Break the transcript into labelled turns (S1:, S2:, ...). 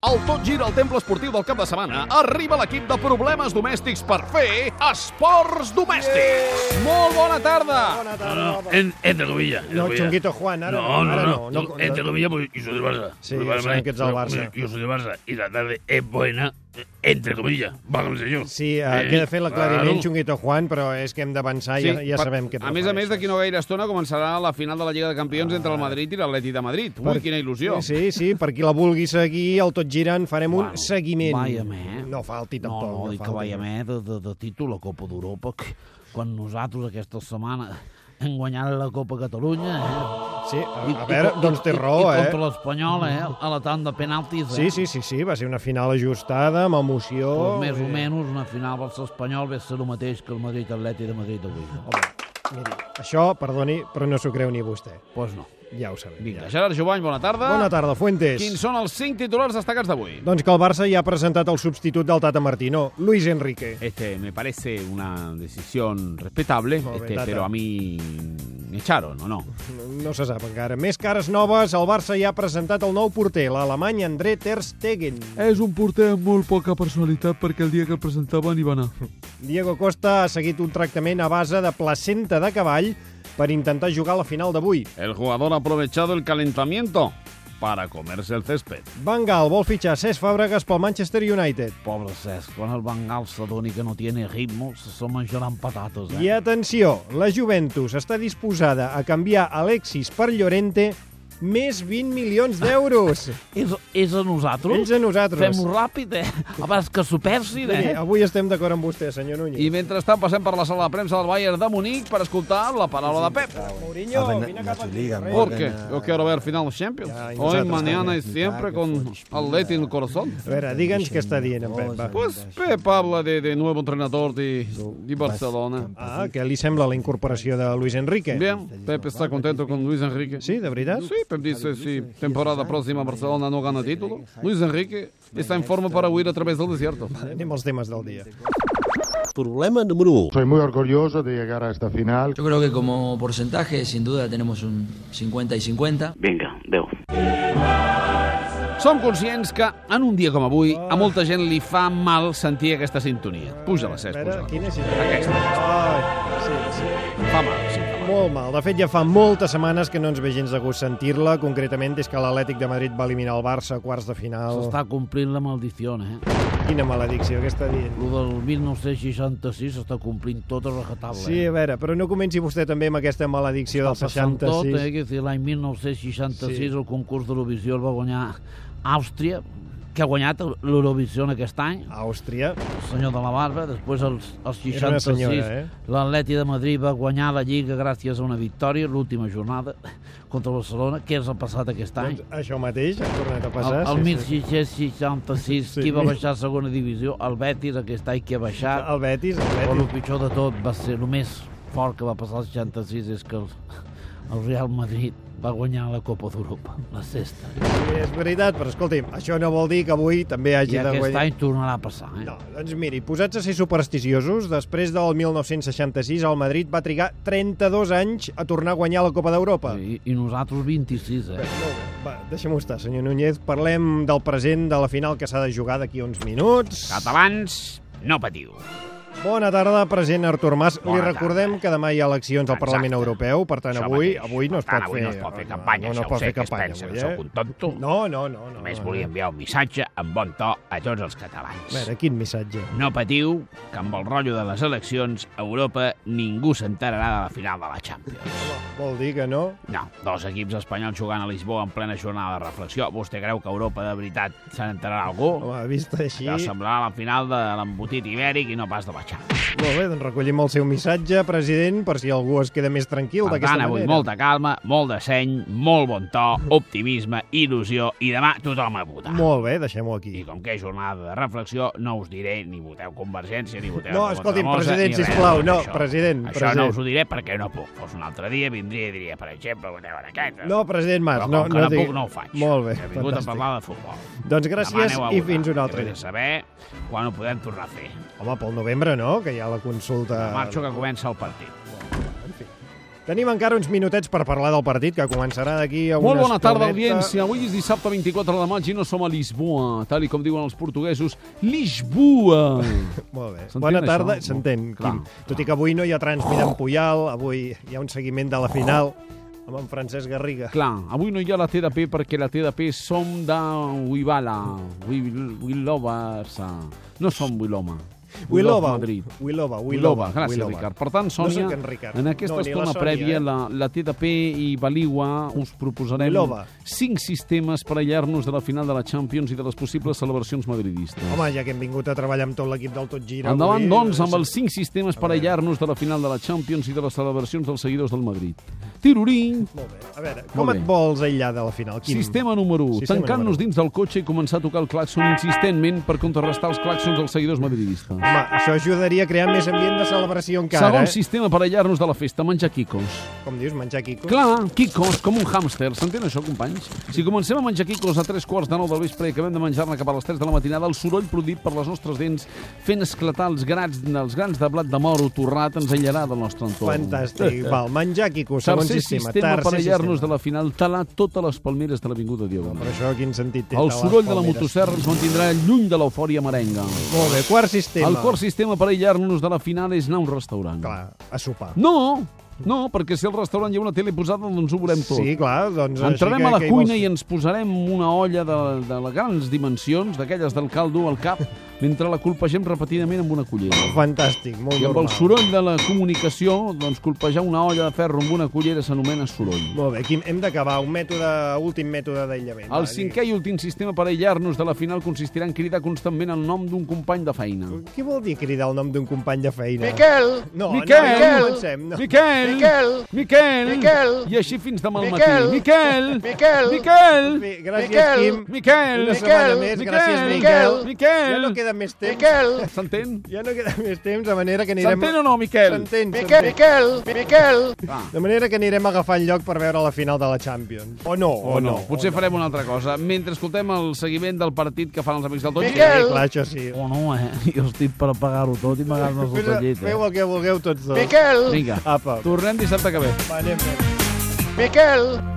S1: Al Tot Gira al Temple Esportiu del cap de setmana arriba l'equip de problemes domèstics per fer esports domèstics.
S2: Molt bona tarda.
S3: Bona
S4: No,
S3: tarda.
S4: no,
S3: guapo.
S4: en- entre comillas. entre
S3: No,
S4: comillas.
S3: Chunguito Juan, ara
S4: no,
S3: no,
S4: no,
S3: ara
S4: no, no,
S3: no, no.
S4: Entre comillas, porque yo soy del Barça.
S3: Sí,
S4: Porque
S3: yo
S4: para
S3: saben
S4: mí,
S3: que ets del
S4: yo-
S3: Barça.
S4: Yo soy del Barça y la tarde es buena, eh, entre comillas. Válgame, señor.
S3: Sí, eh,
S4: Eh,
S3: que he de fer l'aclariment,
S4: claro.
S3: Xunguito Juan, però és que hem d'avançar, sí, ja, ja
S2: per-
S3: sabem què
S2: A més a més, d'aquí no gaire estona començarà la final de la Lliga de Campions entre el Madrid i l'Atleti de Madrid. Ui, quina il·lusió.
S3: Ah. Sí, sí, per qui la vulgui seguir, al Tot Girant farem un seguiment.
S5: Vaya me.
S3: No falti
S5: No,
S3: tampoc.
S5: no, dic que
S3: falti.
S5: veiem eh, de, de, de títol a Copa d'Europa, que quan nosaltres aquesta setmana hem guanyat la Copa Catalunya. Eh?
S3: Sí, a, a veure, doncs té raó,
S5: i, I
S3: eh?
S5: contra l'Espanyol, eh? A la tanda de penaltis, eh?
S3: Sí, sí, sí, sí, va ser una final ajustada, amb emoció...
S5: Pues més o
S3: Eh,
S5: menys una final del espanyol ve a ser el mateix que el Madrid Atleti de Madrid avui. Home,
S3: Miri, això, perdoni, però no s'ho creu ni vostè.
S5: pues no.
S3: Ja ho sabem.
S2: Vinga,
S3: Ja.
S2: Gerard Jovany, bona tarda.
S3: Bona tarda, Fuentes.
S2: Quins són els cinc titulars destacats d'avui?
S3: Doncs que el Barça ja ha presentat el substitut del Tata Martino, Luis Enrique.
S6: Este, me parece una decisión respetable,
S3: Joven,
S6: este,
S3: Tata.
S6: pero a mí me echaron, ¿o no?
S3: No, no se sap encara. Més cares noves, el Barça ja ha presentat el nou porter, l'alemany André Ter Stegen.
S7: És un porter amb molt poca personalitat perquè el dia que el presentaven hi va anar.
S3: Diego Costa ha seguit un tractament a base de placenta de cavall per intentar jugar a la final d'avui.
S2: El jugador ha aprovechado el calentamiento para comerse el césped.
S3: Van Gaal vol fitxar Cesc Fàbregas pel Manchester United.
S5: Pobre Cesc, quan el Bengal s'adoni que no tiene ritmo, se se menjaran patates, eh?
S3: I atenció, la Juventus està disposada a canviar Alexis per Llorente més 20 milions d'euros.
S5: És, és a nosaltres?
S3: Ells a nosaltres.
S5: Fem-ho ràpid, eh? Abans que s'ho persin, eh?
S3: Miri, avui estem d'acord amb vostè, senyor Núñez.
S2: I mentrestant passem per la sala de premsa del Bayern de Munic per escoltar la paraula de Pep.
S3: Mourinho, vine cap aquí. rei.
S2: Porque yo quiero ver final siempre.
S3: Ja, i
S2: Hoy,
S3: nosaltres
S2: mañana
S3: també.
S2: y siempre con Atleti en el corazón.
S3: A veure, digue'ns què està dient en Pep. Va.
S2: Pues Pep habla de, de nuevo entrenador de, de Barcelona.
S3: Ah, què li sembla la incorporació de Luis Enrique?
S2: Bien, Pep está contento con Luis Enrique.
S3: Sí, de veritat?
S2: Sí, Pep dice, si temporada próxima Barcelona no gana título, Luis Enrique está en forma para huir a través del desierto.
S3: Anem als temes del dia.
S8: Soy muy orgulloso de llegar a esta final.
S9: Yo creo que como porcentaje, sin duda, tenemos un 50 y 50.
S2: Som conscients que en un dia com avui a molta gent li fa mal sentir aquesta sintonia. Puja-la,
S3: A
S2: Cesc,
S3: veure,
S2: puja-la.
S3: quina és?
S2: Aquesta.
S3: Ai, sí, sí.
S2: Fa mal, sí, fa mal.
S3: Molt mal. De fet, ja fa moltes setmanes que no ens ve gens de gust sentir-la, concretament des que l'Atlètic de Madrid va eliminar el Barça a quarts de final.
S5: S'està complint la maldició, eh?
S3: Quina maledicció que està dient.
S5: Lo del 1966 s'està complint tot a rajatabla.
S3: Sí, a
S5: eh?
S3: veure, però no comenci vostè també amb aquesta maledicció del
S5: Passant
S3: 66.
S5: Tot, eh? Que si l'any 1966
S3: Sí.
S5: sí. el concurs d'Eurovisió el va guanyar Àustria, que ha guanyat l'Eurovisió en aquest any,
S3: Àustria.
S5: el senyor de la Barba, després els, els
S3: Era una
S5: 66
S3: senyora, eh?
S5: l'Atleti de Madrid va guanyar la Lliga gràcies a una victòria, l'última jornada contra el Barcelona, que és el passat aquest any.
S3: Doncs això mateix, ha tornat a
S5: El,
S3: passar.
S5: el
S3: sí, sí.
S5: 1666,
S3: Sí.
S5: sí. qui va baixar a segona divisió? El Betis, aquest any que ha baixat.
S3: El Betis, el
S5: Però
S3: Betis.
S5: el pitjor de tot va ser, el més fort que va passar el 66 és que el, el Real Madrid va guanyar la Copa d'Europa, la sexta.
S3: Sí, és veritat, però escolti, això no vol dir que avui també hagi
S5: I
S3: de
S5: aquest
S3: guanyar.
S5: any tornarà a passar, eh?
S3: No, doncs miri, posats a ser supersticiosos, després del 1966 el Madrid va trigar 32 anys a tornar a guanyar la Copa d'Europa.
S5: I,
S3: Sí.
S5: I nosaltres 26, eh?
S3: Va, deixem-ho estar, senyor Núñez. Parlem del present, de la final que s'ha de jugar d'aquí uns minuts.
S6: Catalans, no patiu.
S3: Bona tarda, president Artur Mas.
S6: Bona
S3: Li recordem que demà hi ha eleccions al
S6: Exacte.
S3: Parlament Europeu, per tant,
S6: Això
S3: avui
S6: mateix.
S3: avui no es
S6: Per tant,
S3: pot
S6: avui
S3: fer...
S6: no es pot fer campanya,
S3: no, no
S6: ja ho
S3: pot
S6: sé,
S3: fer
S6: que es
S3: campanya,
S6: pensen
S3: avui,
S6: que
S3: eh?
S6: sóc un tonto.
S3: No, no, no. no
S6: Només
S3: no,
S6: volia enviar un missatge amb bon to a tots els catalans.
S3: A veure, quin missatge?
S6: No patiu, que amb el rotllo de les eleccions a Europa ningú s'enterarà de la final de la Champions.
S3: Vol dir que no?
S6: No, dos equips espanyols jugant a Lisboa en plena jornada de reflexió. Vostè creu que a Europa de veritat se n'enterarà algú?
S3: Home, vist així...
S6: Ja semblarà la final de l'embotit ibèric i no pas de la Champions.
S3: Molt bé, doncs recollim el seu missatge, president, per si algú es queda més tranquil
S6: Per
S3: d'aquesta
S6: tant,
S3: manera.
S6: avui molta calma, molt de seny, molt bon to, optimisme, il·lusió i demà tothom a votar.
S3: Molt bé, deixem-ho
S6: I
S3: aquí.
S6: com que és jornada de reflexió, no us diré ni voteu Convergència, ni voteu...
S3: No,
S6: Ramon
S3: escolti'm,
S6: Tremosa,
S3: president,
S6: ni res
S3: sisplau,
S6: de tot
S3: no,
S6: això.
S3: president,
S6: Això
S3: president.
S6: no us ho diré perquè no puc. Fos un altre dia, vindria i diria, per exemple, voteu en aquest.
S3: No, president Mas,
S6: Però com
S3: no,
S6: que no,
S3: digui-
S6: puc, no ho faig.
S3: Molt bé,
S6: He vingut
S3: fantàstic.
S6: a parlar de futbol.
S3: Doncs
S6: Demà
S3: gràcies
S6: aneu a
S3: i
S6: votar.
S3: fins un altre
S6: He de
S3: dia.
S6: saber quan ho podem tornar a fer.
S3: Home, pel novembre no, que hi ha la consulta...
S6: Marxo que comença el partit.
S3: Tenim encara uns minutets per parlar del partit, que començarà d'aquí a una
S2: Molt bona tarda,
S3: estoneta.
S2: audiència. Avui és dissabte 24 de maig i no som a Lisboa, tal i com diuen els portuguesos, Lisboa.
S3: Molt bé.
S2: S'entén
S3: Bona
S2: això?
S3: tarda,
S2: Molt-
S3: s'entén,
S2: clar,
S3: Quim. Tot i que avui no hi ha transmit
S6: Oh.
S3: en Puyal, avui hi ha un seguiment de la final amb en Francesc Garriga.
S2: Clar, avui no hi ha la TDP perquè la TDP som de Uibala, Willovers. ah. No som Wiloma. We love
S3: Wilova,
S2: Madrid. Wilova,
S3: Wilova, Wilova.
S2: gràcies,
S3: Wilova.
S2: Ricard. Per tant,
S3: No
S2: Sònia,
S3: sóc en Ricard.
S2: en aquesta
S3: No, ni la
S2: estona
S3: Sònia,
S2: prèvia,
S3: eh?
S2: la, la TDP i Baligua us proposarem
S3: Wilova.
S2: cinc sistemes per aïllar-nos de la final de la Champions i de les possibles celebracions madridistes.
S3: Home, ja que hem vingut a treballar amb tot l'equip del Tot Gira...
S2: Endavant,
S3: avui,
S2: doncs,
S3: eh,
S2: amb els cinc sistemes per aïllar-nos de la final de la Champions i de les celebracions dels seguidors del Madrid. Tirorín,
S3: Molt bé. A veure, com
S2: Molt
S3: et
S2: bé.
S3: vols aïllar de la final, Quim?
S2: sistema número 1.
S3: Sistema número un.
S2: Tancar-nos dins del cotxe i començar a tocar el claxon insistentment per contrarrestar els claxons dels seguidors madridistes.
S3: Home, això ajudaria a crear més ambient de celebració encara.
S2: Segon
S3: eh?
S2: sistema per aïllar-nos de la festa, menjar quicos.
S3: Com dius, menjar quicos.
S2: Clar, quicos, com un hàmster. S'entén això, companys? Si comencem a menjar quicos a tres quarts de nou del vespre i acabem de menjar-ne cap a les 3 de la matinada, el soroll produït per les nostres dents fent esclatar els grans, els grans de blat de moro torrat ens aïllarà del nostre entorn.
S3: Fantàstic. Val, menjar quicos, segon
S2: Tercer
S3: sistema.
S2: sistema, per aïllar-nos de la final, talar totes les palmeres de l'Avinguda
S3: Però
S2: Diagonal.
S3: això quin sentit té?
S2: El
S3: de les
S2: soroll de la
S3: palmeres?
S2: motosserra ens mantindrà lluny de l'eufòria merenga.
S3: Molt bé, quart sistema.
S2: El quart sistema per aïllar-nos de la final és anar a un restaurant.
S3: Clar, a sopar.
S2: No, no, perquè si al restaurant hi ha una tele posada, doncs ho volem tot.
S3: Sí, clar, doncs...
S2: Entrarem
S3: així
S2: a
S3: que,
S2: la cuina i ens posarem una olla de, de les grans dimensions, d'aquelles del caldo al cap, mentre la colpegem repetidament amb una cullera.
S3: Fantàstic, molt
S2: I amb el
S3: normal.
S2: soroll de la comunicació, doncs colpejar una olla de ferro amb una cullera s'anomena soroll.
S3: Molt bé, Quim, hem d'acabar. Un mètode, últim mètode d'aïllament.
S2: El
S3: va,
S2: cinquè i últim sistema per aïllar-nos de la final consistirà en cridar constantment el nom d'un company de feina.
S3: digui. Què vol dir cridar el nom d'un company de feina?
S8: Miquel!
S3: No, no,
S2: Miquel!
S3: no comencem. No.
S2: Miquel!
S8: Miquel!
S2: Miquel!
S8: Miquel!
S2: I així fins demà al matí. Miquel!
S8: Miquel! Miquel!
S2: Miquel!
S3: Bé, gràcies,
S8: Miquel!
S3: Quim.
S2: Miquel!
S3: Una setmana més, gràcies, Miquel.
S2: Miquel!
S3: Ja no queda més temps.
S8: Miquel!
S2: S'entén?
S3: Ja no queda més temps, de manera que anirem...
S2: S'entén o no, Miquel?
S3: S'entén,
S8: Miquel!
S3: s'entén.
S8: Miquel! Miquel!
S3: De manera que anirem agafant lloc per veure la final de la Champions. O no, o,
S2: O no. Potser farem una altra cosa. Mentre escoltem el seguiment del partit que fan els amics del Tot Gira,
S8: Miquel!
S3: Sí, clar, això sí.
S5: O no, eh? Jo estic per pagar-ho tot i pagar-nos el
S3: Fes-
S5: tallit, eh?
S3: Feu el que vulgueu tots dos.
S8: Miquel!
S2: Vinga,
S3: Apa,
S2: tornem dissabte que ve.
S3: va, anem, anem.
S8: Miquel!